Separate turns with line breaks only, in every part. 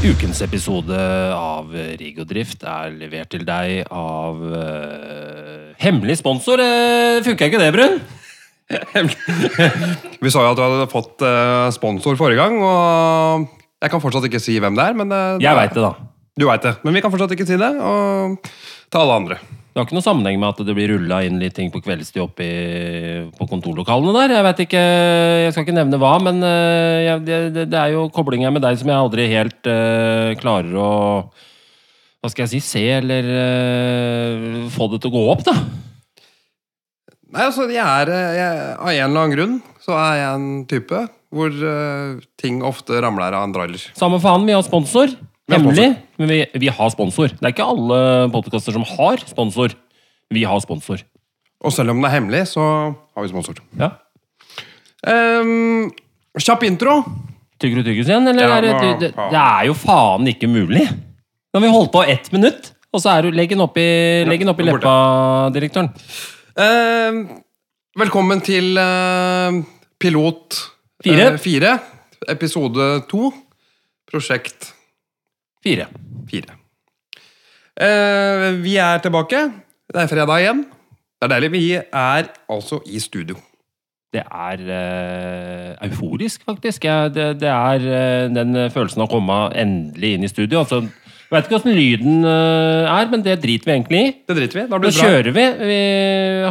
Ukens episode av Rigg og drift er levert til deg av eh, Hemmelig sponsor. Uh, Funka ikke det, Brun?
Vi sa jo at du hadde fått eh, sponsor forrige gang, og jeg kan fortsatt ikke si hvem det er. Men, eh,
Jeg veit det, da.
Du vet det, men vi kan fortsatt ikke si det. Og til alle andre.
Det har ikke noe sammenheng med at det blir rulla inn litt ting på kveldstid oppe i- på kontorlokalene der. Jeg vet ikke, jeg skal ikke nevne hva, men eh, jeg, det, det er jo koblinga med deg som jeg aldri helt eh, klarer å Hva skal jeg si se, eller eh, få det til å gå opp, da.
Nei, altså, jeg er, eh, jeg, Av en eller annen grunn så er jeg en type hvor eh, ting ofte ramler av en drailer.
Samme faen, vi har sponsor.
har sponsor.
Hemmelig. Men vi, vi har sponsor. Det er ikke alle podkaster som har sponsor. Vi har sponsor.
Og selv om den er hemmelig, så har vi sponsor.
Ja.
Ehm, kjapp intro.
Tygger du tyggis igjen, eller?
Ja,
er det,
nå-
det, det er jo faen ikke mulig! Nå har vi holdt på ett minutt, og så er du Legg den oppi, legg den oppi
nå borte.
leppa, direktøren.
Ehm, velkommen til eh, Pilot
Fire.
eh, fire. Episode to. Prosjekt
Fire.
Fire. Eh, vi er tilbake. Det er fredag igjen. Det er deilig. Vi er altså i studio.
Det er eh, euforisk, faktisk. Jeg, det, det er eh, den følelsen av å komme endelig inn i studio. Altså, jeg vet ikke åssen lyden eh, er, men det driter vi egentlig i.
Det driter vi i. Da
Nå
blir det bra.
kjører vi. Vi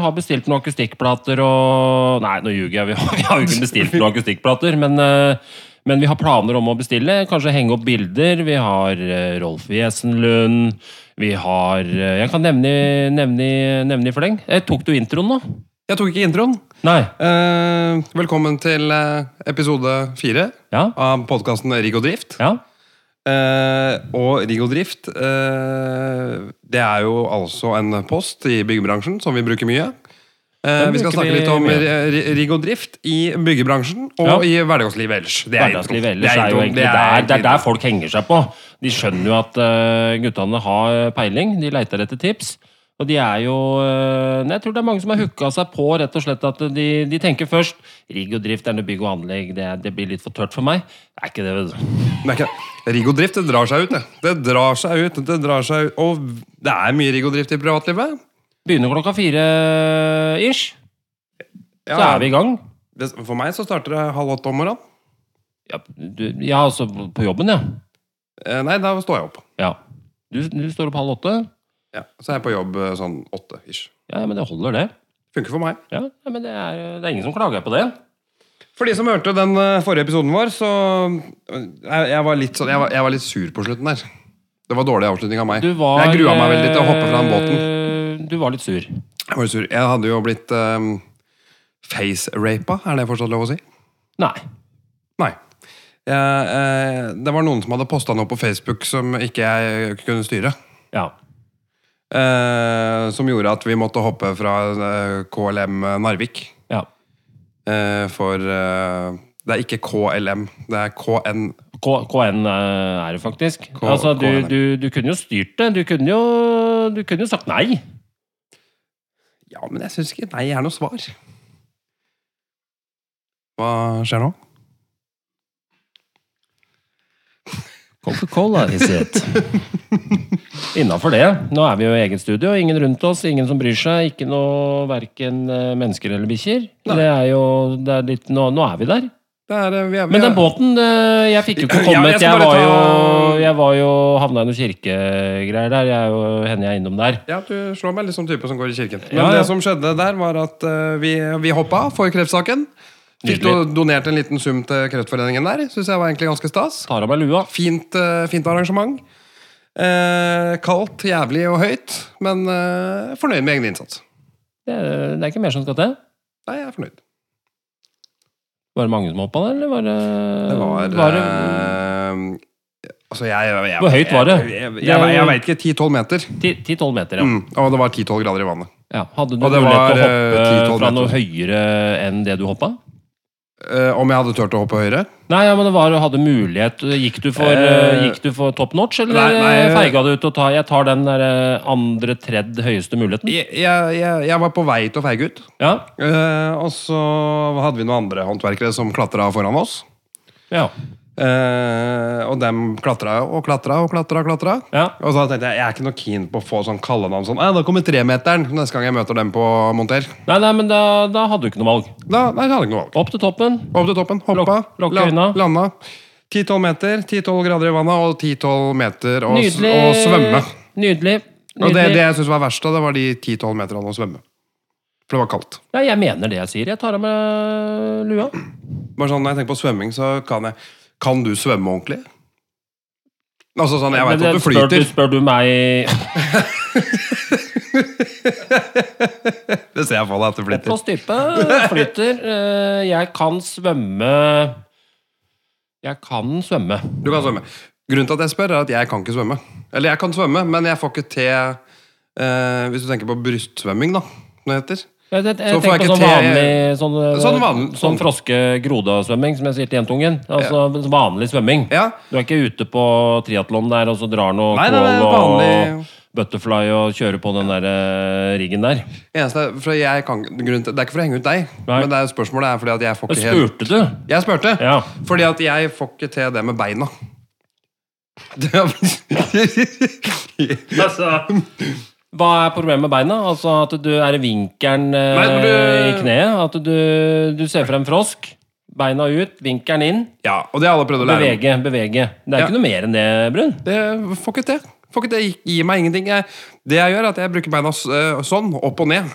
har bestilt noen akustikkplater og Nei, nå ljuger jeg. Vi har, vi har jo ikke bestilt noen akustikkplater, men, eh, men vi har planer om å bestille. Kanskje henge opp bilder. Vi har eh, Rolf Wesenlund. Vi har eh, Jeg kan nevne, nevne, nevne i fleng. Eh, Tok du introen nå?
Jeg tok ikke introen.
Nei.
Eh, velkommen til eh, episode fire
Ja.
av podkasten Rigg og drift.
Ja.
Eh, og Rigg og drift eh, det er jo altså en post i byggebransjen som vi bruker mye. Eh,
Den
vi skal
bruker
snakke
vi
litt om
mye.
ri- ri- rigg og drift i byggebransjen og i hverdagslivet ellers. Det er introen.
Hverdagslivet ellers er jo
introen.
egentlig
Det er
der, det er
introen.
der folk henger seg på. De skjønner jo at eh, guttene har peiling, de leiter etter tips. Og de er jo eh, Jeg tror det er mange som har hooka seg på rett og slett at de, de tenker først Rigg og drift er noe bygg og anlegg, det, det blir litt for tørt for meg. Det er ikke det, vet du.
Det er ikke Rigg og drift, det drar seg ut, det. Det drar seg ut, det drar seg ut. Og det er mye rigg og drift i privatlivet.
Begynner klokka fire ish,
Ja,
så er vi i gang.
det, for meg så starter det halv åtte om morgenen.
Ja, du, ja altså på jobben, ja.
Eh, nei, da står jeg opp.
ja. Du, du står opp halv åtte?
Ja, så er jeg på jobb eh, sånn åtte ish.
Ja, men det holder, det.
Funker for meg.
Ja, ja, men det er, det er ingen som klager på det.
For de som hørte den eh, forrige episoden vår, så eh, jeg, jeg, var litt sånn, jeg, var, jeg var litt sur på slutten der. Det var dårlig avslutning av meg.
Du var
jeg grua meg veldig til å hoppe fra den båten.
eh, Du var litt sur.
Jeg var litt sur. Jeg hadde jo blitt eh, face-rapa, er det fortsatt lov å si?
Nei.
Nei. Jeg, eh, det var noen som hadde posta noe på Facebook som ikke jeg kunne styre.
Ja.
Eh, som gjorde at vi måtte hoppe fra eh, KLM Narvik.
ja.
Eh, for eh, det er ikke KLM, det er KN.
K KN eh, er det faktisk. altså, du,
KN.
du, du kunne jo styrt det. Du kunne jo, du kunne jo sagt nei.
Ja, men jeg syns ikke nei er noe svar. Hva skjer nå?
Coca-Cola is it. Innafor det. Nå er vi jo i eget studio. Ingen rundt oss, ingen som bryr seg. Ikke noe verken eh, mennesker eller bikkjer.
Nei.
Det er jo det er litt nå, nå er vi der.
Det er, eh, vi er, vi
Men den
er-
båten eh, Jeg fikk jo ikke
Ja, jeg
kommet.
skal
Jeg
bare
var
ta-
jo, jeg var jo havna i noen kirkegreier der. Jeg er jo, hender jeg er innom der.
Ja, Du slår meg litt som type som går i kirken. Men
Ja, ja.
det som skjedde der, var at eh, vi, vi hoppa for kreftsaken. Fikk do,
Nydelig.
donert en liten sum til Kreftforeningen der. Syns jeg var egentlig ganske stas.
Tar av meg lua.
Fint, eh, fint arrangement. Eh, kaldt, jævlig og høyt, men eh, fornøyd med egen innsats.
Det, det er ikke mer som skal til.
Nei, jeg er fornøyd.
Var det mange som hoppa der, eller var det
Det var,
det,
eh, Altså, jeg, jeg, jeg
Hvor høyt var det?
Jeg, jeg, jeg, jeg, jeg veit ikke. 10-12 meter.
ti- 10-12 meter, ja.
Mm, og det var 10-12 grader i vannet.
ja. Hadde du
Og det
mulighet til å
var, eh,
hoppe
10-12
fra noe høyere enn det du hoppa?
Eh, om jeg hadde turt å hoppe høyere?
Nei, ja, men det var, hadde mulighet Gikk du for,
Eh,
eh, gikk du for top notch, eller
nei, nei,
eh,
jeg-
feiga du ut og ta Jeg tar den der eh, andre, tredje høyeste muligheten.
Jeg, jeg, jeg, jeg var på vei til å feige ut.
Ja.
Eh, og så hadde vi noen andre håndverkere som klatra foran oss.
ja.
Eh, og dem klatra jo og klatra og klatra. Og klatra
Ja.
Og så tenkte jeg jeg er ikke noe keen på å få sånn kallenavn sånn. «Nei, Da kommer tremeteren neste gang jeg møter dem på monter.
Nei, nei, men da, da hadde du ikke noe valg.
Da, nei, jeg hadde ikke noe valg.
Opp til toppen.
Opp til toppen, hoppa,
Lukk- lukke øynene.
landa. 10-12 meter, 10-12 grader i vannet og 10-12 meter å s-
Nydelig.
å svømme.
Nydelig.
Og det,
Nydelig.
det jeg syns var verst, da, det var de 10-12 meterne å svømme. For det var kaldt.
Ja, jeg mener det jeg sier. Jeg tar av meg lua.
Bare sånn, Når jeg tenker på svømming, så kan jeg Kan du svømme ordentlig? Altså sånn, Jeg
Men
veit at
det-
du flyter.
Spør, du- spør du meg
Det ser jeg for deg at du
på
flyter.
styrpe? Flyter. Eh, Jeg kan svømme Jeg kan svømme.
Du kan svømme. Grunnen til at jeg spør, er at jeg kan ikke svømme. Eller jeg kan svømme, men jeg får ikke til eh, Hvis du tenker på brystsvømming, da, som det heter.
Jeg, jeg, jeg
Så får jeg
tenker på
ikke
sånn vanlig sånn,
Sånn vanlig-
sånn froske-groda-svømming, som jeg sier til jentungen. Altså vanlig svømming.
Ja.
Du er ikke ute på triatlon der og så drar noe
Nei, nei, nei,
kål og
vanlig-
butterfly og kjører på den der eh, riggen der.
Eneste, er- for jeg kan, grunnen til, det er ikke for å henge ut deg,
Nei.
men det er spørsmålet er fordi at jeg får
Men
ikke helt
spurte du?
Jeg spurte,
Ja.
fordi at jeg får ikke til det med beina. Det er- Altså,
Hva er problemet med beina? Altså At du er i vinkelen eh,
Nei, men
i
du-
kneet? At du, du ser frem frosk? Beina ut, vinkelen inn.
ja, og det har alle prøvd å lære. meg.
Bevege, bevege. Det er
Ja.
ikke noe mer enn det, Brun.
Det får ikke til. Får ikke til. Gir meg ingenting. Jeg, det jeg gjør, er at jeg bruker beina s- øh, sånn, opp og ned.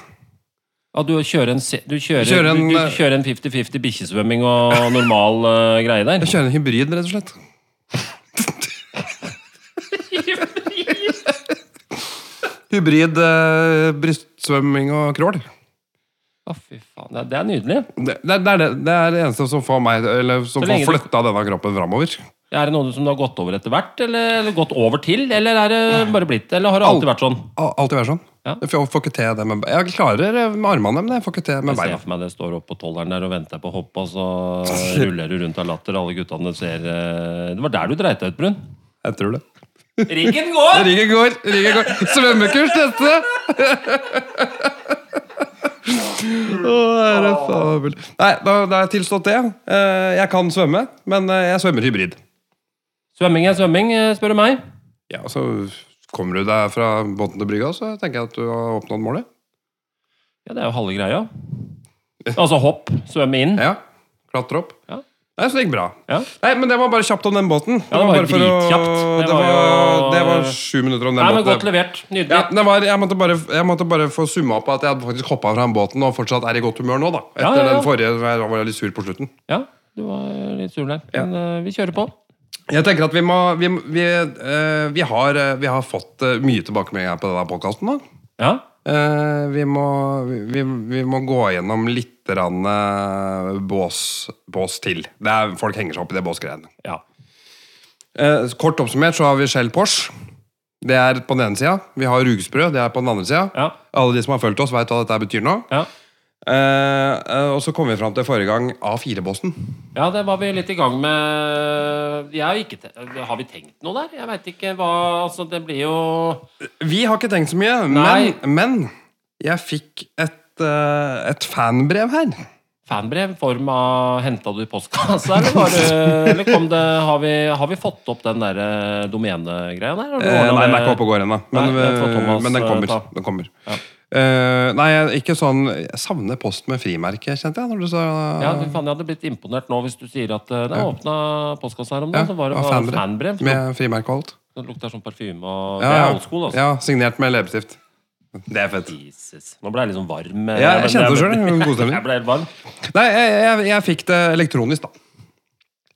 At du kjører en se- du kjører-
Kjører en,
du- du
eh,
kjører en 50-50 bikkjesvømming og normal eh, greie der.
Jeg kjører en hybrid, rett og slett. Hybrid øh, brystsvømming og crawl.
Å, fy faen. Det er, det er nydelig.
Det, det, er- det, er det, det er det eneste som får meg Eller som
Så
får
lenge du-
flytta denne kroppen framover.
Er det noe som du har gått over etter hvert, eller, eller gått over til? Eller er det bare blitt Eller har det alltid vært sånn?
Al- Alltid være sånn.
Ja.
Jeg får får ikke til det med be- Jeg klarer eh, med armene, men jeg får ikke til med
Jeg ser
beina.
for meg det står oppe på tolleren der og venter på hopp, og så ruller du rundt av latter, alle guttene ser eh, Det var der du dreit deg ut, Brun.
Jeg tror det.
Riggen går!
Riket går, riket går. Svømmekurs neste! Å, herre fabel. Nei, da, da har jeg tilstått det. Eh, Jeg kan svømme, men eh, jeg svømmer hybrid.
Svømming er svømming, eh, spør du meg.
Ja, og Så kommer du deg fra båten til brygga, så tenker jeg at du har oppnådd målet.
Ja, det er jo halve greia. Altså hopp, svømme inn.
Ja, Klatre opp.
Ja.
Nei, Så det gikk bra.
Ja.
Nei, men Det var bare kjapt om den båten.
Ja, det var
bare for å-
dritkjapt. Det
Det
var jo-
var, det var sju minutter om den
Nei, men
båten.
Godt levert. Nydelig.
Ja, det var, jeg, måtte bare, jeg måtte bare få summa opp at jeg hadde faktisk hoppa fra den båten og fortsatt er i godt humør nå. da Etter
Ja, ja, ja.
den forrige hvor jeg var litt sur på slutten.
Ja, du var litt sur der. Men eh, vi kjører på.
Jeg tenker at Vi må Vi, vi, eh, vi, har, eh, vi har fått eh, mye tilbakemeldinger på denne podkasten.
Ja.
Uh, vi, må- vi, vi må gå gjennom litt rann, eh, bås, bås til. Det er, folk henger seg opp i det båsgreiene.
ja.
Eh, kort oppsummert så har vi Shell Porsche. Det er på den ene sida. Vi har Rugsprø. Det er på den andre sida.
Ja.
Alle de som har fulgt oss, veit hva dette betyr nå.
Ja.
Eh, eh, og så kom vi fram til forrige gang A4-bossen.
Ja, det var vi litt i gang med. Jeg har, ikke te har vi tenkt noe der? Jeg veit ikke hva Altså, det blir jo
Vi har ikke tenkt så mye, men,
Nei.
men jeg fikk et, eh, et fanbrev her.
fanbrev i form av Henta du i postkassa, eller, var det, eller kom det har vi, har vi fått opp den der eh, domenegreia der? Har du
Eh,
ordnet
nei, den er
det?
ikke oppe og går ennå, men,
Nei, den får Thomas,
eh, men den
eh,
kommer.
ta.
Den kommer. Eh, nei, jeg- ikke sånn Jeg savner post med frimerke, kjente jeg. Når du sa
Ja, fy faen, Jeg hadde blitt imponert nå hvis du sier at eh, det åpna postkassa her om
Ja,
dagen. så var det
av
bare fanbrev. som
Med frimerke og alt.
Det lukter sånn parfyme og
Ja,
Det
ja.
er old school, altså.
ja, signert med leppestift. Det er fett.
Jesus. Nå ble jeg litt sånn varm. eh,
Ja, jeg
men
kjente det selv,
men-
det var god stemning.
Jeg ble helt varm.
Nei, jeg, jeg, jeg fikk det elektronisk, da.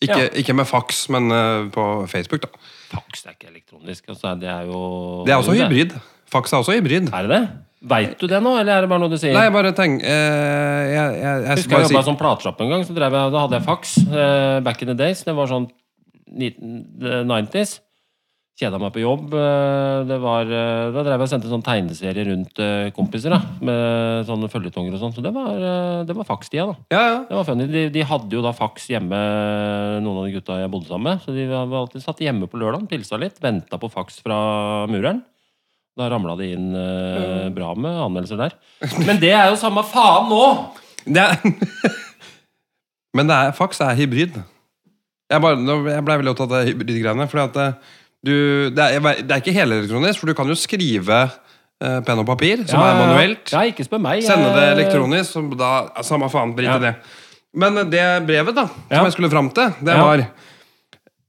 Ikke,
Ja.
ikke med faks, men eh, på Facebook, da.
Fax er ikke elektronisk. Altså, det er jo
Det er også hybrid. Faks er også hybrid.
Er det det? Veit du det nå, eller er det bare noe du sier?
Nei, jeg bare tenk eh, jeg, jeg, jeg,
husker
bare
jeg
si-
jobba som platesjappe en gang. Så drev jeg, da hadde jeg fax eh, back in the days. Det var sånn 1990s. Kjeda meg på jobb. eh, Det var, eh, da drev jeg og sendte sånn tegneserie rundt eh, kompiser. da Med sånne følgetonger og sånn. Så det var, eh, det var fax-tida, da.
ja, ja.
Det var funny. De, de hadde jo da fax hjemme, noen av de gutta jeg bodde sammen med. Så de var alltid satt hjemme på lørdagen, pilsa litt, venta på fax fra mureren. Da ramla det inn
Mm.
eh, bra med anmeldelser der. Men det er jo samme faen nå!
Det er Men det er, faks er hybrid. Jeg, bare, nå- jeg ble veldig opptatt av hybridgreiene. Fordi at eh, du, det, er, det er ikke helelektronisk, for du kan jo skrive eh, penn og papir, som
Ja,
er
ja, ja.
manuelt.
Ja, ikke spør meg. Eh,
Sende det
jeg-
elektronisk, som da ja, Samme faen, drit i
Ja.
det. Men eh, det brevet da,
Ja.
som jeg skulle fram til, det
Ja.
var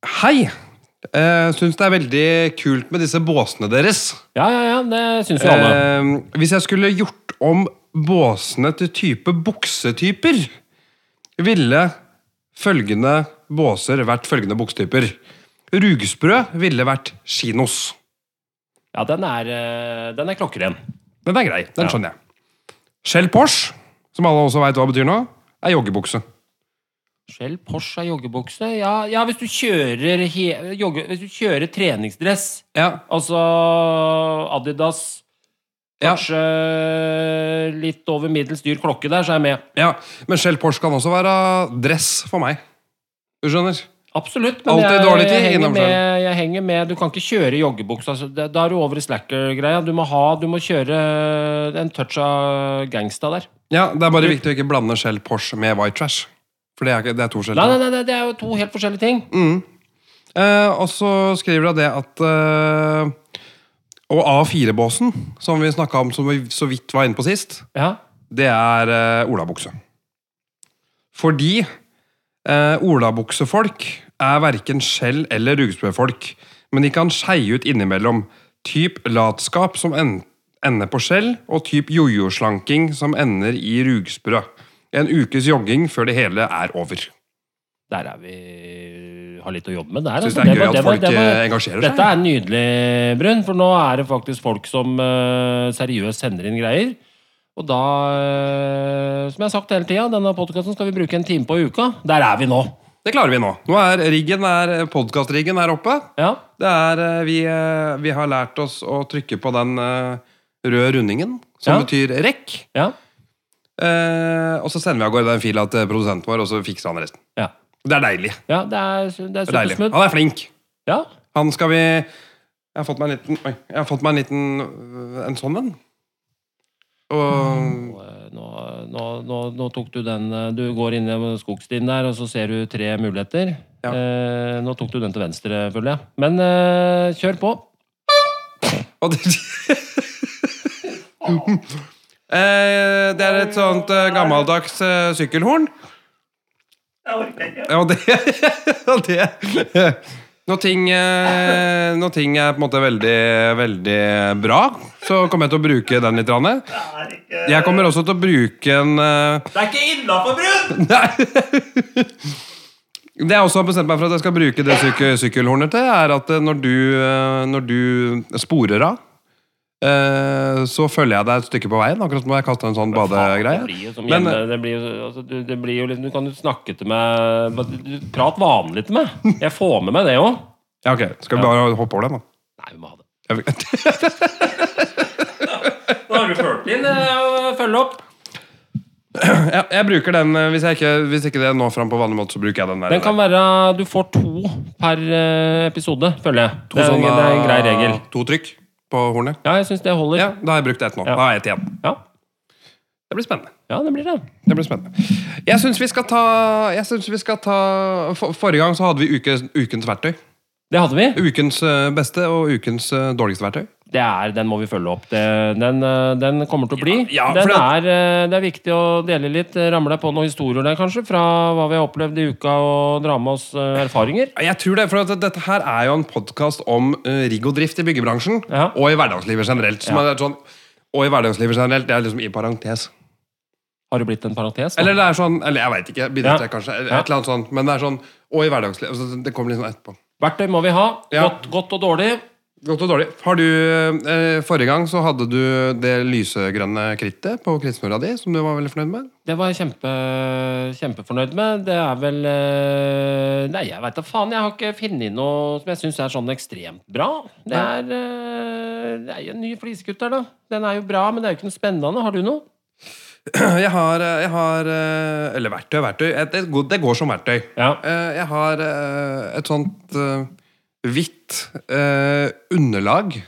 Hei! Uh, Syns det er veldig kult med disse båsene deres.
Ja, ja, ja, det syns jo alle.
Eh, hvis jeg skulle gjort om båsene til type buksetyper, ville følgende båser vært følgende buksetyper. Rugsprø ville vært kinos.
Ja, den er, eh, den er klokkeren.
Den er grei. Den
Ja.
skjønner jeg. Shell Porsche, som alle også veit hva betyr nå, er joggebukse.
Skjell, Porsche er joggebukse. Ja, ja hvis, du kjører he jogge hvis du kjører treningsdress,
Ja.
altså Adidas
Ja.
Kanskje litt over middels dyr klokke der, så er jeg med.
ja. Men Shell Porsche kan også være dress for meg. Du skjønner?
Absolutt, men
Alltid
jeg,
dårlig tid
jeg, henger
innom
med, jeg henger med. Du kan ikke kjøre i joggebuksa. så det- Da er du over i slacker-greia. Du må ha, du må kjøre en touch av gangsta der.
Ja, Det er bare viktig å ikke blande Shell Porsche med White Trash. For det er, ikke- det er to skjell.
Nei, nei, nei, nei, det er jo to helt forskjellige ting.
Eh, og så skriver hun det at eh, Og A4-båsen, som vi snakka om som vi så vidt var inne på sist,
Ja,
det er eh, olabukse. Fordi eh, olabuksefolk er verken skjell- eller rugsprøfolk, men de kan skeie ut innimellom. Typ latskap som en ender på skjell, og typ jojo-slanking som ender i rugsprø. En ukes jogging før det hele er over.
der er vi har litt å jobbe med der.
Syns
altså.
det er
var-
gøy at
var-
folk
det var-
eh, engasjerer seg.
Dette er nydelig, Brun, for nå er det faktisk folk som eh, seriøst sender inn greier. Og da, eh, som jeg har sagt hele tida, denne podkasten skal vi bruke en time på i uka. Der er vi nå.
Det klarer vi nå. Nå er riggen er, Podkastriggen er oppe.
Ja,
Det er, eh, vi, eh, vi har lært oss å trykke på den eh, røde rundingen, som
Ja.
betyr rekk.
ja,
Eh, og så sender vi av gårde den fila til produsenten vår, og så fikser han resten.
ja.
Det er deilig.
Ja, det er, det er
Det er deilig.
supersmooth.
Han er flink.
Ja.
Han skal vi Jeg har fått meg en liten Oi. Jeg har fått meg en liten øh, En sånn en. Og
Nå, eh, nå, nå, nå tok du den eh, Du går inn i skogstien der, og så ser du tre muligheter.
Ja.
Eh, nå tok du den til venstre, føler jeg. Men eh, kjør på.
Og det Eh, Det er et sånt eh, gammeldags eh, sykkelhorn. Ja, og det, og det når, ting, eh, når ting er på en måte veldig, veldig bra, så kommer jeg til å bruke den litt. Ranne. Jeg kommer også til å bruke en eh,
Det er ikke innafor, Brun!
Det jeg også har bestemt meg for at jeg skal bruke det syke, sykkelhornet til, er at eh, når du, eh, når du sporer av, eh, så følger jeg deg et stykke på veien. Akkurat som når jeg kasta en sånn
Det
badegreie.
blir jo som
Men- eh,
hjemme. Det blir jo, altså, du, det blir jo liksom, du kan jo snakke til meg bare- du- Prat vanlig til meg. Jeg får med meg det òg.
Ja, ok. Skal vi bare hoppe over den, da?
Nei, vi må ha det.
Jeg vet-
Da har du ført inn eh, følge opp.
Ja, jeg bruker den eh, hvis, jeg ikke, hvis ikke det når fram på vanlig måte, så bruker jeg den der.
Den kan være Du får to per eh, episode, føler jeg.
To
det, er,
sånne-
det er en grei regel.
To trykk på hornet.
Ja, jeg syns det holder.
Ja, da har jeg brukt ett nå.
Ja.
Da har jeg ett igjen.
Ja.
Det blir spennende.
ja, det blir det.
Det blir spennende. Jeg syns vi skal ta, jeg synes vi skal ta for, Forrige gang så hadde vi ukes, ukens verktøy.
Det hadde vi.
Ukens eh, beste og ukens eh, dårligste verktøy.
Det er, den må vi følge opp. Det, den, eh, den kommer til å bli.
Ja, ja,
den
for
er, eh, det er viktig å dele litt. eh, Ramle på noen historier der, kanskje, fra hva vi har opplevd i uka, og dra med oss eh, erfaringer.
Ja, Jeg tror det, for at Dette her er jo en podkast om eh, rigg og drift i byggebransjen
Ja.
og i hverdagslivet generelt. Som er sånn, og i hverdagslivet generelt, Det er liksom i parentes.
Har det blitt en parentes? da?
Eller det er sånn, eller jeg veit ikke.
Ja.
Bidrar til kanskje, eller
Ja.
et eller annet sånt, Men det er sånn Og i hverdagslivet. Altså, det kommer litt sånn etterpå.
Verktøy må vi ha.
Ja.
Godt, godt og dårlig.
Godt og dårlig. Har du, eh, Forrige gang så hadde du det lysegrønne krittet på krittsnora di, som du var veldig fornøyd med.
Det var jeg kjempe, kjempefornøyd med. Det er vel eh, Nei, jeg veit da faen. Jeg har ikke funnet noe som jeg syns er sånn ekstremt bra. Det er, eh, det er jo en ny flisekutt der, da. Den er jo bra, men det er jo ikke noe spennende. Har du noe?
Jeg har, eh, jeg har eh, Eller verktøy, verktøy. Et, et, god- det går som verktøy.
Ja.
Eh, Jeg har eh, et sånt eh, hvitt eh, underlag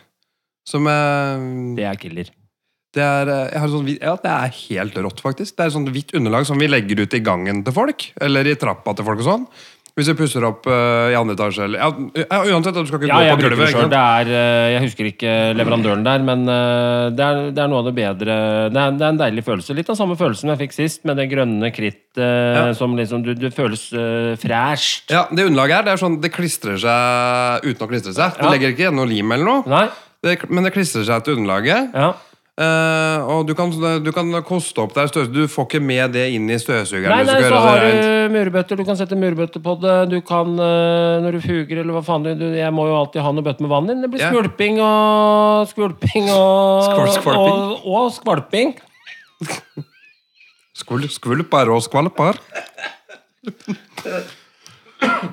som jeg
Det er killer.
Det er, eh, jeg har et sånt, hvitt- ja, det er helt rått, faktisk. Det er et sånt hvitt underlag som vi legger ut i gangen til folk. Eller i trappa til folk og sånn. Hvis du pusser opp eh, i andre etasje eller ja, ja, Uansett, du skal ikke
Ja,
gå
jeg
på
bruker
gulvet.
det selv.
ikke sant?
Det er, eh, Jeg husker ikke leverandøren der, men eh, det er, det er noe av det bedre det er, det er en deilig følelse. Litt av samme følelsen jeg fikk sist, med det grønne krittet
Ja.
som liksom Du, du føles uh, fresht.
Ja, Det underlaget her, det er sånn det klistrer seg uten å klistre seg. Det
Ja.
legger ikke igjen noe lim eller noe,
Nei?
det, men det klistrer seg til underlaget.
Ja.
Eh, og du kan, du kan koste opp der støvsugeren. Du får ikke med det inn i støvsugeren.
Nei,
hvis
nei,
du skal
så
gjøre
har
det rent.
du murbøtter. Du kan sette murbøtter på det. Du kan, eh, når du fuger eller hva faen du, du- Jeg må jo alltid ha noen bøtter med vann inn. Det blir
Ja.
skvulping og skvulping og
Skvalp, skvalping.
Og, og skvalping.
Skvul, skvulper og skvalper.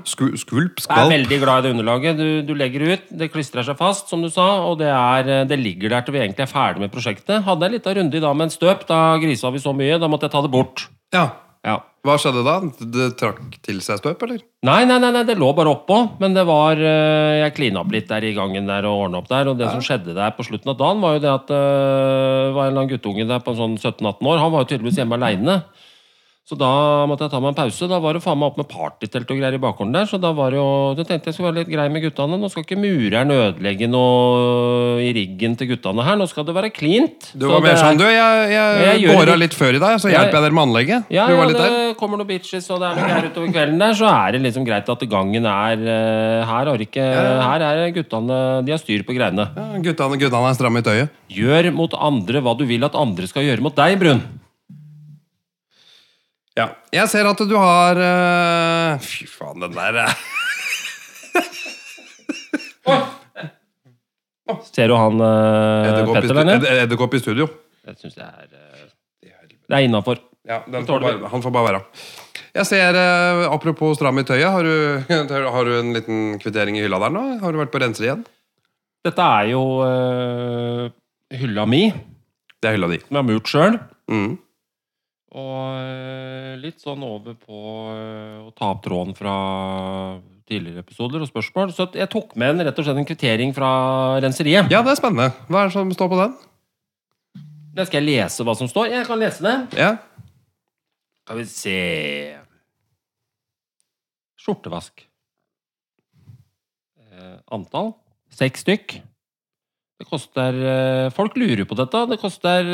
Sku, skvulp,
Jeg er
skvalp.
veldig glad i det underlaget. Du, du legger ut, det klistrer seg fast, som du sa, og det, er, eh, det ligger der til vi egentlig er ferdig med prosjektet. Hadde jeg en liten runde i dag med en støp, da grisa vi så mye, da måtte jeg ta det bort.
Ja.
Ja.
Hva skjedde da? Det trakk til seg støp, eller?
Nei, nei, nei, nei, det lå bare oppå, men det var eh, Jeg klina opp litt der i gangen der og ordna opp der, og det som skjedde der på slutten av dagen, var jo det at eh, det var en eller annen guttunge der på sånn 17-18 år, han var jo tydeligvis hjemme aleine. Så da måtte jeg ta meg en pause. Da var det faen meg opp med partytelt og greier i bakgården der. Så da var det jo, da tenkte jeg skulle være litt grei med guttene. Nå skal ikke mureren ødelegge noe i riggen til guttene her. Nå skal det være cleant.
Du
Så
var
det
mer
er-
sånn, du, jeg, jeg,
Jeg gjør
båra
litt-
litt før i dag, så
Ja,
hjelper jeg dere med anlegget.
ja,
du var
ja,
litt
det
der.
kommer noen bitches, og det er noe greier utover kvelden der, så er det liksom greit at gangen er eh, Her har ikke Her er guttene De har styr på greiene.
Ja, guttene, guttene er stramme i tøyet.
Gjør mot andre hva du vil at andre skal gjøre mot deg, Brun.
Ja. Jeg ser at du har eh, Fy faen, den der eh.
Ser du han eh,
Edderkopp i
Petter
stu-
der nede?
ed- Edderkopp i studio.
Jeg syns det er eh, Det er innafor.
Ja, den får
tåler vi.
bare, han får bare være. Jeg ser, eh, Apropos stram i tøyet, har du, har du en liten kvittering i hylla der nå? Har du vært på renser igjen?
Dette er jo eh, hylla mi,
Det er hylla di.
som jeg har murt sjøl.
Mm.
Og eh, litt sånn over på eh, å ta opp tråden fra tidligere episoder og spørsmål. Så at jeg tok med en, rett og slett en kvittering fra renseriet.
Ja, det er spennende. Hva er det som står på den?
Da skal jeg lese hva som står. Jeg kan lese det.
Ja.
Skal vi se Skjortevask. Eh, antall seks stykk. Det koster eh, Folk lurer på dette. Det koster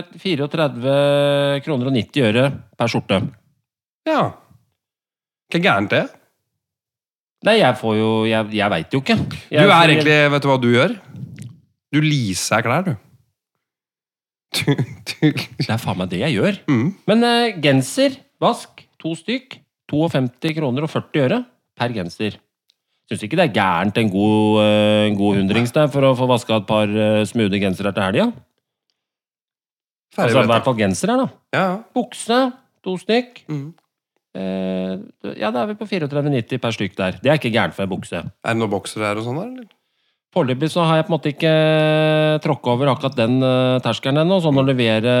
eh, 34 kroner og 90 øre per skjorte.
ja. Ikke gærent, det.
Nei, jeg får jo Jeg, jeg veit jo ikke.
Du
Jeg,
er egentlig Vet du hva du gjør? Du leaser klær, du. Du, du.
Det er faen meg det jeg gjør.
Mm.
Men eh, genser, vask, to stykk. 52 kroner og 40 øre per genser. Syns ikke det er gærent en god, eh, en god hundrings der for å få vaska et par eh, smoothie gensere til helga.
Ferdig
Altså, I hvert
bretta.
fall genser her, da.
Ja.
Bukse, to stykk.
Mm.
Eh, ja, da er vi på 34,90 per stykk der. Det er ikke gærent for en bukse.
Er det noen boksere her og sånn, der, eller?
Foreløpig så har jeg på en måte ikke tråkka over akkurat den eh, terskelen ennå. Sånn å levere,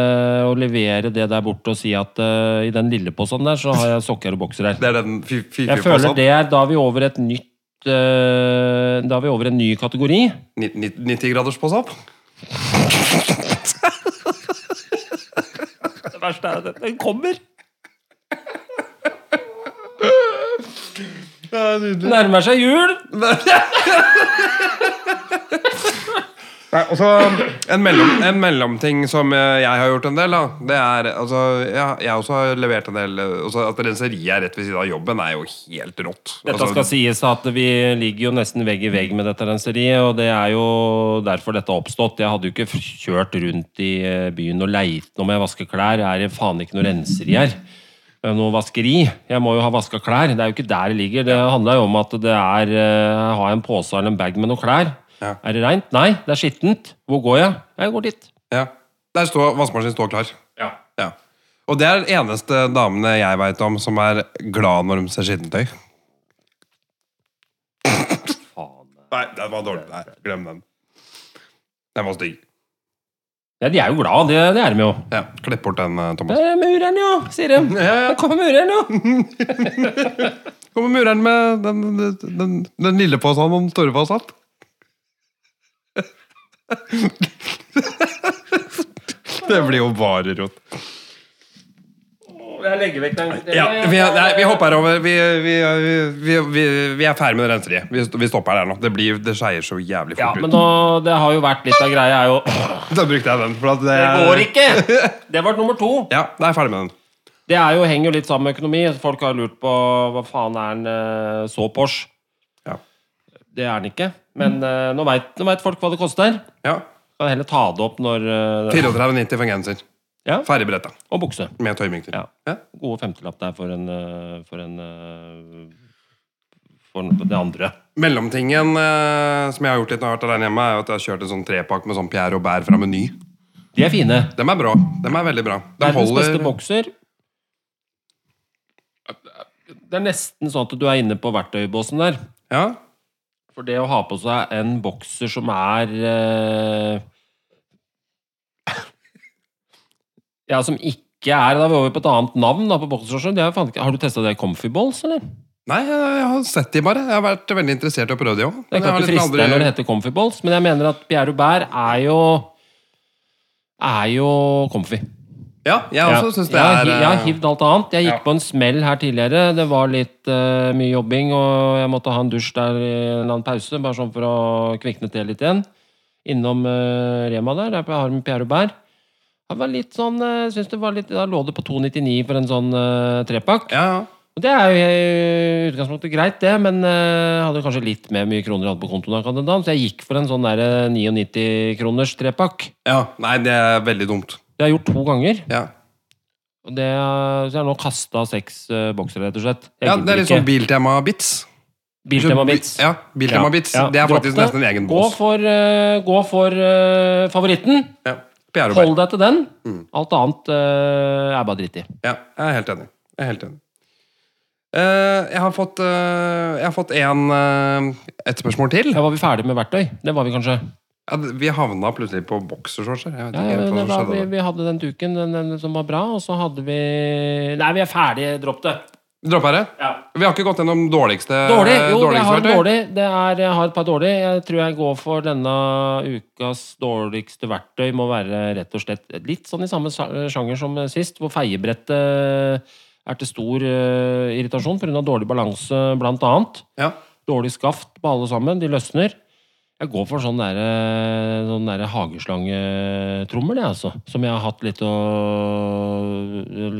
å levere det der borte og si at eh, i den lille posen der, så har jeg sokker og bokser her.
Det er den
Jeg føler
fifi-fasaden?
det er da er vi over et nytt eh, Da er vi over en ny kategori.
90-gradersposap?
Det verste er at den kommer.
Ja, nydelig.
Nærmer seg jul.
Nei, og så en, mellom, en mellomting som eh, jeg har gjort en del, da. Det er altså ja, Jeg også har levert en del eh, også At renseriet er rett ved siden av jobben, er jo helt rått.
Dette
Altså,
skal sies at vi ligger jo nesten vegg i vegg med dette renseriet, og det er jo derfor dette har oppstått. Jeg hadde jo ikke f- kjørt rundt i eh, byen og leit når jeg vasker klær. Er det faen ikke noe renseri her? Det er Noe vaskeri. Jeg må jo ha vaska klær. Det er jo ikke der det ligger. Det handler jo om at det er eh, Jeg har en pose eller en bag med noen klær.
Ja.
Er det reint? Nei, det er skittent. Hvor går jeg? Jeg går dit.
ja. Der står vaskemaskinen står klar.
Ja.
Ja. Og det er den eneste damene jeg veit om som er glad når de ser skittentøy.
Faen.
Nei, den var dårlig. Nei, glem den. Den var stygg.
Ja, de er jo glad, det, det er de jo.
Ja, Klipp bort den, eh, Thomas.
Det er mureren, jo, sier de. Der kommer mureren, jo.
Kommer mureren med den, den, den, den lille posen om store posen? Det blir jo bare rot.
Jeg legger vekk den.
Ja, vi, nei, vi hopper over. Vi, vi, vi, vi, vi er ferdig med det renseriet. Vi, vi stopper her nå. Det, blir, det skeier så jævlig
Ja,
fort
men
ut.
nå, det har jo vært litt av greia, er jo
Da brukte jeg den. For at det,
Det går ikke! Det var nummer to.
Ja, da er jeg ferdig med den.
Det er jo, henger jo litt sammen med økonomi. Folk har lurt på hva faen er en eh, så Porsche.
Ja.
Det er den ikke. Men eh, nå veit nå vet folk hva det koster.
ja.
Kan heller ta det opp når eh,
34,90 for en genser.
Ja.
Ferdig beretta.
Og bukse.
Med tøyming til.
Ja.
Ja.
Gode femtelapp der for en eh, For en eh, For en- det andre.
Mellomtingen eh, som jeg har gjort litt når jeg har vært alene hjemme, er jo at jeg har kjørt en sånn trepakk med sånn Pierre Robert fra Meny.
De er fine.
Dem er bra. Dem er veldig bra. De
Verdens beste
holder
bokser. Det er nesten sånn at du er inne på verktøybåsen der.
Ja.
For det å ha på seg en bokser som er eh, Ja, som ikke er Da er vi over på et annet navn da, på boksershortsen. Det er jo faen ikke- Har du testa det Comfy Balls, eller?
Nei, jeg, jeg har sett de bare. Jeg har vært veldig interessert i å prøve de òg.
Det er klart du
liksom
frister deg når det heter Comfy Balls, men jeg mener at Pierre Robert er jo er jo comfy.
Ja, jeg også synes det
jeg, har
er
hi- jeg har
eh,
hivd alt annet. Jeg gikk
ja.
på en smell her tidligere. Det var litt eh, mye jobbing, og jeg måtte ha en dusj der i en eller annen pause, bare sånn for å kvikne til litt igjen. Innom eh, Rema der, der jeg har med Pierre Robert. Det var litt sånn, eh, jeg synes det var litt, Da lå det på 2,99 for en sånn eh, trepakk.
Ja, ja.
Og det er jo eh, i utgangspunktet greit, det, men jeg hadde kanskje litt mer mye kroner jeg hadde på kontoen, akkurat den dagen, så jeg gikk for en sånn der, eh, 99-kroners trepakk.
Ja, nei, det er veldig dumt.
Det har jeg gjort to ganger.
Ja,
Og det, så jeg har nå kasta seks eh, boksere, rett og slett. Jeg
ja
gidder
Det er litt
ikke.
sånn Biltema-bits.
Biltema-bits.
Ja, Biltema-bits.
Ja, ja.
Det er
Dropp
faktisk
det.
nesten en egen
Gå
bås.
for, eh, gå for eh, favoritten.
Ja. Pierre Robert.
Hold deg til den.
Mm.
Alt annet eh, er bare dritt i.
Ja, jeg er helt enig. Jeg er helt enig. Eh, jeg har fått, eh, jeg har fått en, eh, et spørsmål til.
Ja, var vi ferdig med verktøy? Det var vi kanskje.
Ja, d- vi havna plutselig på boksershorts her. Jeg vet
Ja, ja,
ikke helt hva
men
som
da, vi,
skjedde. der.
vi hadde den duken den, den som var bra, og så hadde vi Nei, vi er ferdige. Dropp det.
Vi dropper det.
Ja.
Vi har ikke gått gjennom dårligste
Dårlig. Jo, jeg
dårligste
har,
verktøy.
dårlig. Det er, jeg har et par dårlig. Jeg tror jeg går for denne ukas dårligste verktøy. Må være rett og slett litt sånn i samme sa- sjanger som sist, hvor feiebrettet er til stor eh, irritasjon pga. dårlig balanse, blant annet.
Ja.
Dårlig skaft på alle sammen. De løsner. Jeg går for sånn derre sånn der hageslangetrommel, jeg, altså. Som jeg har hatt litt å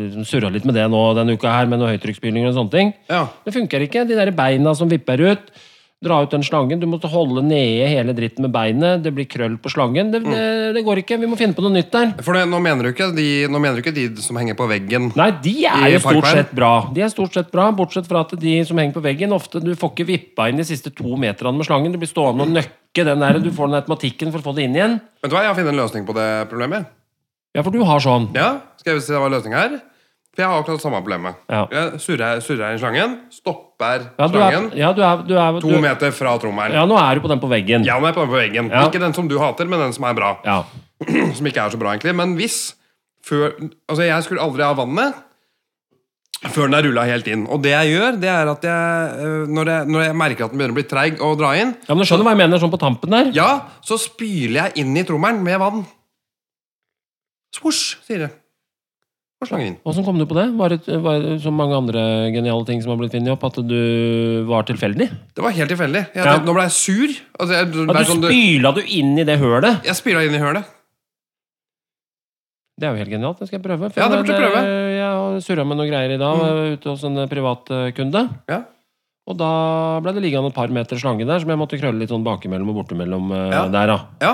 liksom Surra litt med det nå denne uka her, med noen høytrykksspylinger og sånne ting.
ja.
Det funker ikke. De der beina som vipper ut. Dra ut den slangen. Du måtte holde nede hele dritten med beinet. Det blir krøll på slangen. Det, det,
Mm.
det går ikke. Vi må finne på noe nytt der.
For det, nå, mener du ikke de, nå mener du ikke de som henger på veggen.
Nei, de er
I
jo stort
parkveien?
sett bra. De er stort sett bra, Bortsett fra at de som henger på veggen, ofte du får ikke vippa inn de siste to meterne med slangen. Det blir stående og nøkke den der. Du får den automatikken for å få det inn igjen.
Vet du hva, Jeg har funnet en løsning på det problemet.
Ja, for du har sånn.
Ja, Skal jeg se hva løsninga er? For jeg har akkurat samme problemet.
Ja.
Jeg surrer, surrer inn slangen, stopper
Ja, du er,
slangen
ja, du er, du er,
to
du,
meter fra trommelen.
ja nå er du på den på veggen.
Ja, den er på den på veggen.
Ja.
Ikke den som du hater, men den som er bra.
Ja.
Som ikke er så bra, egentlig. Men hvis før, Altså, jeg skulle aldri ha vannet før den er rulla helt inn. Og det jeg gjør, det er at jeg øh, Når jeg, når jeg merker at den begynner å bli treig og dra inn,
ja, men du skjønner hva jeg mener sånn på tampen der?
ja, så spyler jeg inn i trommelen med vann. Svosj, sier det. Og slanger inn.
Åssen kom du på det? Var det, var det som mange andre geniale ting som har blitt funnet opp, at du var tilfeldig?
Det var helt tilfeldig. Jeg
Ja.
tenkte, Nå ble jeg sur. Altså, jeg, det
At du
ble sånn, du,
spyla du inn i det hølet?
jeg spyla inn i hølet.
Det er jo helt genialt. Det skal jeg prøve.
Ja, det burde du prøve. Mm.
Jeg har surra med noen greier i dag ute hos en privatkunde.
Ja.
Og da ble det liggende et par meter slange der som jeg måtte krølle litt sånn bakimellom og bortimellom eh,
Ja.
der, da.
Ja,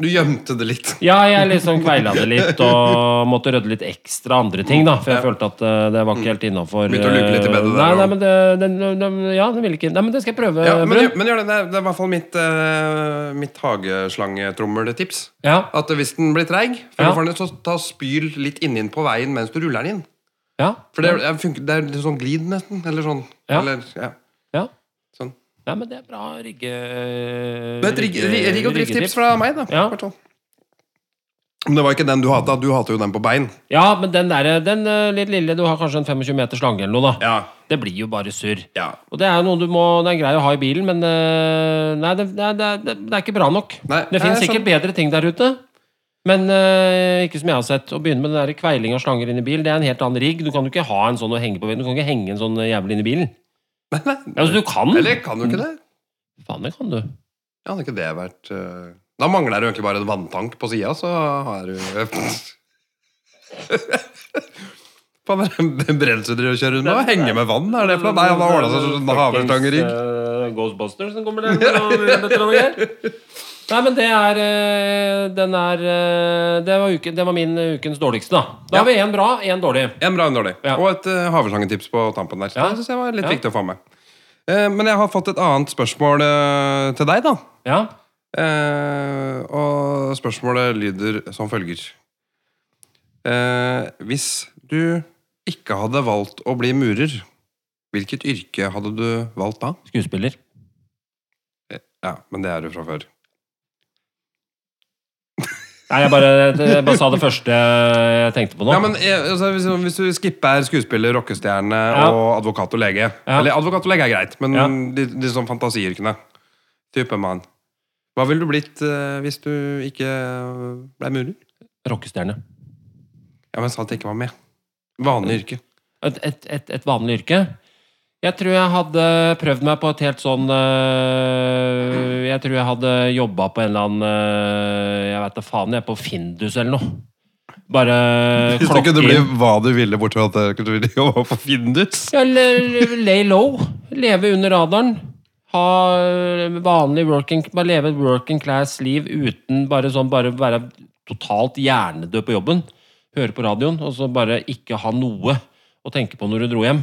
du gjemte det litt.
Ja, jeg liksom kveila det litt og måtte rydde litt ekstra andre ting, da. For jeg følte at eh, det var ikke helt innafor.
Mm.
eh,
Begynte å luke litt i bedet der,
Nei, nei,
og-
men det, den- den- ja, den ville ikke Nei, men det skal jeg prøve,
Ja, men,
Eh, Brun.
gjør- men gjør det. Det er, det er i hvert fall mitt, uh, mitt hageslangetrommel-tips.
Ja.
At hvis den blir treig,
Ja.
ja. så ta spyl litt inn på veien mens du ruller den inn.
ja.
For det, er- jeg funker, det er litt sånn glid, nesten. Eller sånn.
Ja.
Eller, ja.
ja.
sånn.
Nei, men det er bra eh, rigge...
Det er et rigg rigg- rigg- og drifttips
riggetips.
fra meg, da.
Ja.
i hvert fall. Men det var ikke den du hata. Du hater jo den på bein.
Ja, men den der, den eh, litt lille, du har kanskje en 25 meter slange eller noe, da.
Ja.
Det blir jo bare surr.
ja.
Og det er jo noe du må, det er grei å ha i bilen, men eh, nei, det, det, er- det, er- det er ikke bra nok.
Nei,
det
nei, sånn.
finnes
jeg
sikkert bedre ting der ute, Men eh, ikke som jeg har sett. Å begynne med det der kveiling av slanger inn i bil, det er en helt annen rigg. Du kan jo ikke ha en sånn å henge på veggen. Du kan ikke henge en sånn jævel inn i bilen. Ja, altså, du kan!
Eller kan du ikke det?
Faen, det kan du.
Ja, hadde ikke det vært eh, Da mangler du egentlig bare en vanntank på sida, så har du Faen, er det en bremsedyr å kjøre unna? Henge med vann, er det for noe? Nei, han har ordna seg sånn havrestangering.
Fuckings, eh, Ghostbusters som kommer der. og vet dere hva det er? Nei, men det er eh, Den er eh, Det var, uke, det var min eh, ukens dårligste, da. Da
Ja.
har vi én bra, én dårlig.
En bra, en dårlig.
Ja.
Og et uh, havreslangen-tips på tampen der.
Ja.
Det synes jeg var
Ja.
litt viktig å få med. Eh, men jeg har fått et annet spørsmål eh, til deg, da.
Ja.
Eh, og spørsmålet lyder som følger. Eh, hvis du ikke hadde valgt å bli murer, hvilket yrke hadde du valgt da?
Skuespiller.
Ja, men det er du fra før.
Nei, jeg bare, jeg bare sa det første jeg tenkte på nå.
Ja, men eh, altså, hvis, hvis du skipper skuespiller, rockestjerne
Ja.
og advokat og lege
Ja.
Eller advokat og lege er greit, men
Ja.
de, de sånn fantasiyrkene. Type mann. Hva ville du blitt eh, hvis du ikke ble murer?
Rockestjerne.
Ja, men sa at jeg ikke var med. Vanlig yrke.
Et, et, et, et vanlig yrke. Jeg tror jeg hadde prøvd meg på et helt sånn øh, Jeg tror jeg hadde jobba på en eller annen øh, Jeg vet da faen, jeg, på Findus eller noe. Bare
Hvis det
klokke
kunne bli
inn.
hva du ville, bortsett fra at det kunne bli å få Findus.
Ja, Eller lay low. Leve under radaren. Ha øh, vanlig working Bare leve et working class-liv uten bare sånn Bare være totalt hjernedød på jobben. Høre på radioen, og så bare ikke ha noe å tenke på når du dro hjem.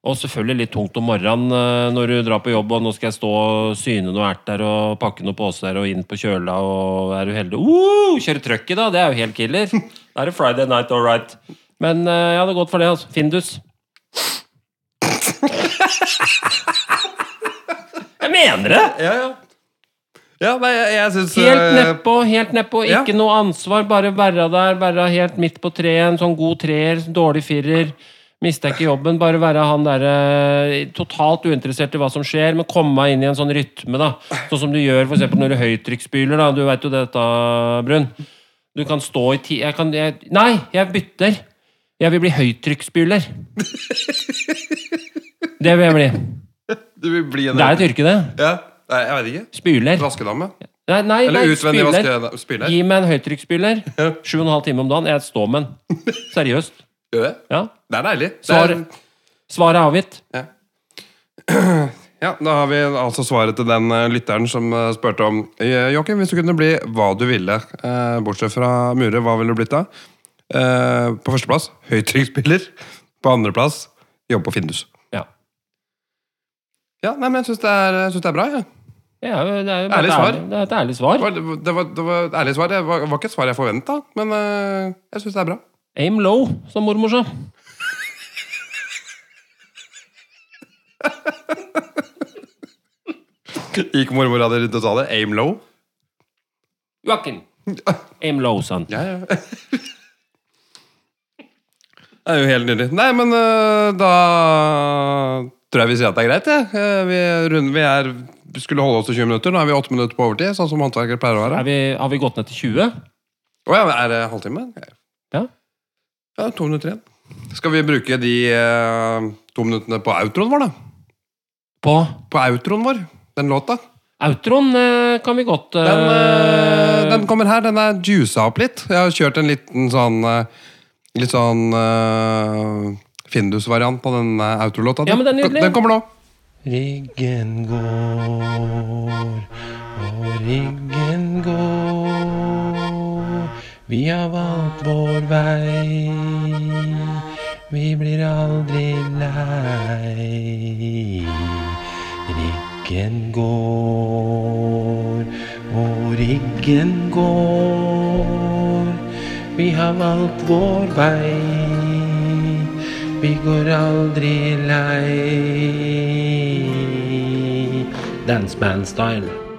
Og selvfølgelig litt tungt om morgenen øh, når du drar på jobb, og nå skal jeg stå og syne noe erter og pakke noen poser og inn på kjøla, og er du heldig uh, Kjøre trøkket, da! Det er jo helt killer. Da er det Friday night, all right. Men øh, jeg hadde gått for det, altså. Findus. Jeg mener det!
Ja, ja. Ja, nei, jeg, jeg syns
Helt nedpå, helt nedpå.
Eh, ja.
Ikke noe ansvar. Bare være der, være helt midt på treet. En sånn god treer, dårlig firer. Mista ikke jobben. Bare være han derre totalt uinteressert i hva som skjer, men komme meg inn i en sånn rytme, da. Sånn som du gjør for eksempel når du høytrykksspyler, da. Du veit jo dette, Brun. Du kan stå i ti... Jeg kan jeg, Nei, jeg bytter! Jeg vil bli høytrykksspyler. Det vil jeg bli.
Du vil bli en
Det er et yrke, det.
Ja, nei, jeg vet ikke.
Spyler.
Vaskedame?
Nei, nei,
Eller
nei
utvendig
spyler.
vaskedame? Spyler?
Gi meg en høytrykksspyler. Sju og en halv time om dagen. Jeg står med den. Seriøst.
Gjør det?
Ja.
Det er deilig. Det
Svar,
er,
svaret er avgitt.
Ja, Da har vi altså svaret til den eh, lytteren som eh, spurte om eh, Joakim, hvis du kunne bli hva du ville, eh, bortsett fra murer, hva ville du blitt da? Eh, På førsteplass høytrykksspiller. På andreplass jobbe på Findus.
Ja.
Ja, nei, men jeg syns det, er- jeg synes det er bra. Ja.
Det er jo, det er jo bare
Ærlig
et
svar.
ærlig- Det er et ærlig svar.
Det, var, det, var, det var et ærlig svar. Det var, var ikke et svar jeg forventa, men eh, jeg syns det er bra.
Aim low, som mormor sa.
Gikk mormora di rundt og sa det? Aim low?
Joakim. Aim low, sa han.
Ja, ja. det er jo helt nydelig. Nei, men øh, da tror jeg vi sier at det er greit, jeg. Eh, Vi, runder, vi er, skulle holde oss til 20 minutter. Nå er vi 8 minutter på overtid, sånn som håndverkere pleier å være.
Er vi, har vi gått ned til 20?
Å ja, er det halvtime?
Ja.
Ja, to minutter igjen. Skal vi bruke de eh, to minuttene på outroen vår, da?
På
På outroen vår, den låta.
outroen eh, kan vi godt eh,
Den, eh, den kommer her. Den er juica opp litt. Jeg har kjørt en liten sånn eh, Litt sånn eh, Findus-variant på den eh, autolåta.
Ja, men den er nydelig.
den kommer nå.
Riggen går, og riggen går. Vi har valgt vår vei, vi blir aldri lei. Riggen går, og riggen går. Vi har valgt vår vei. Vi går aldri lei. Dance band style.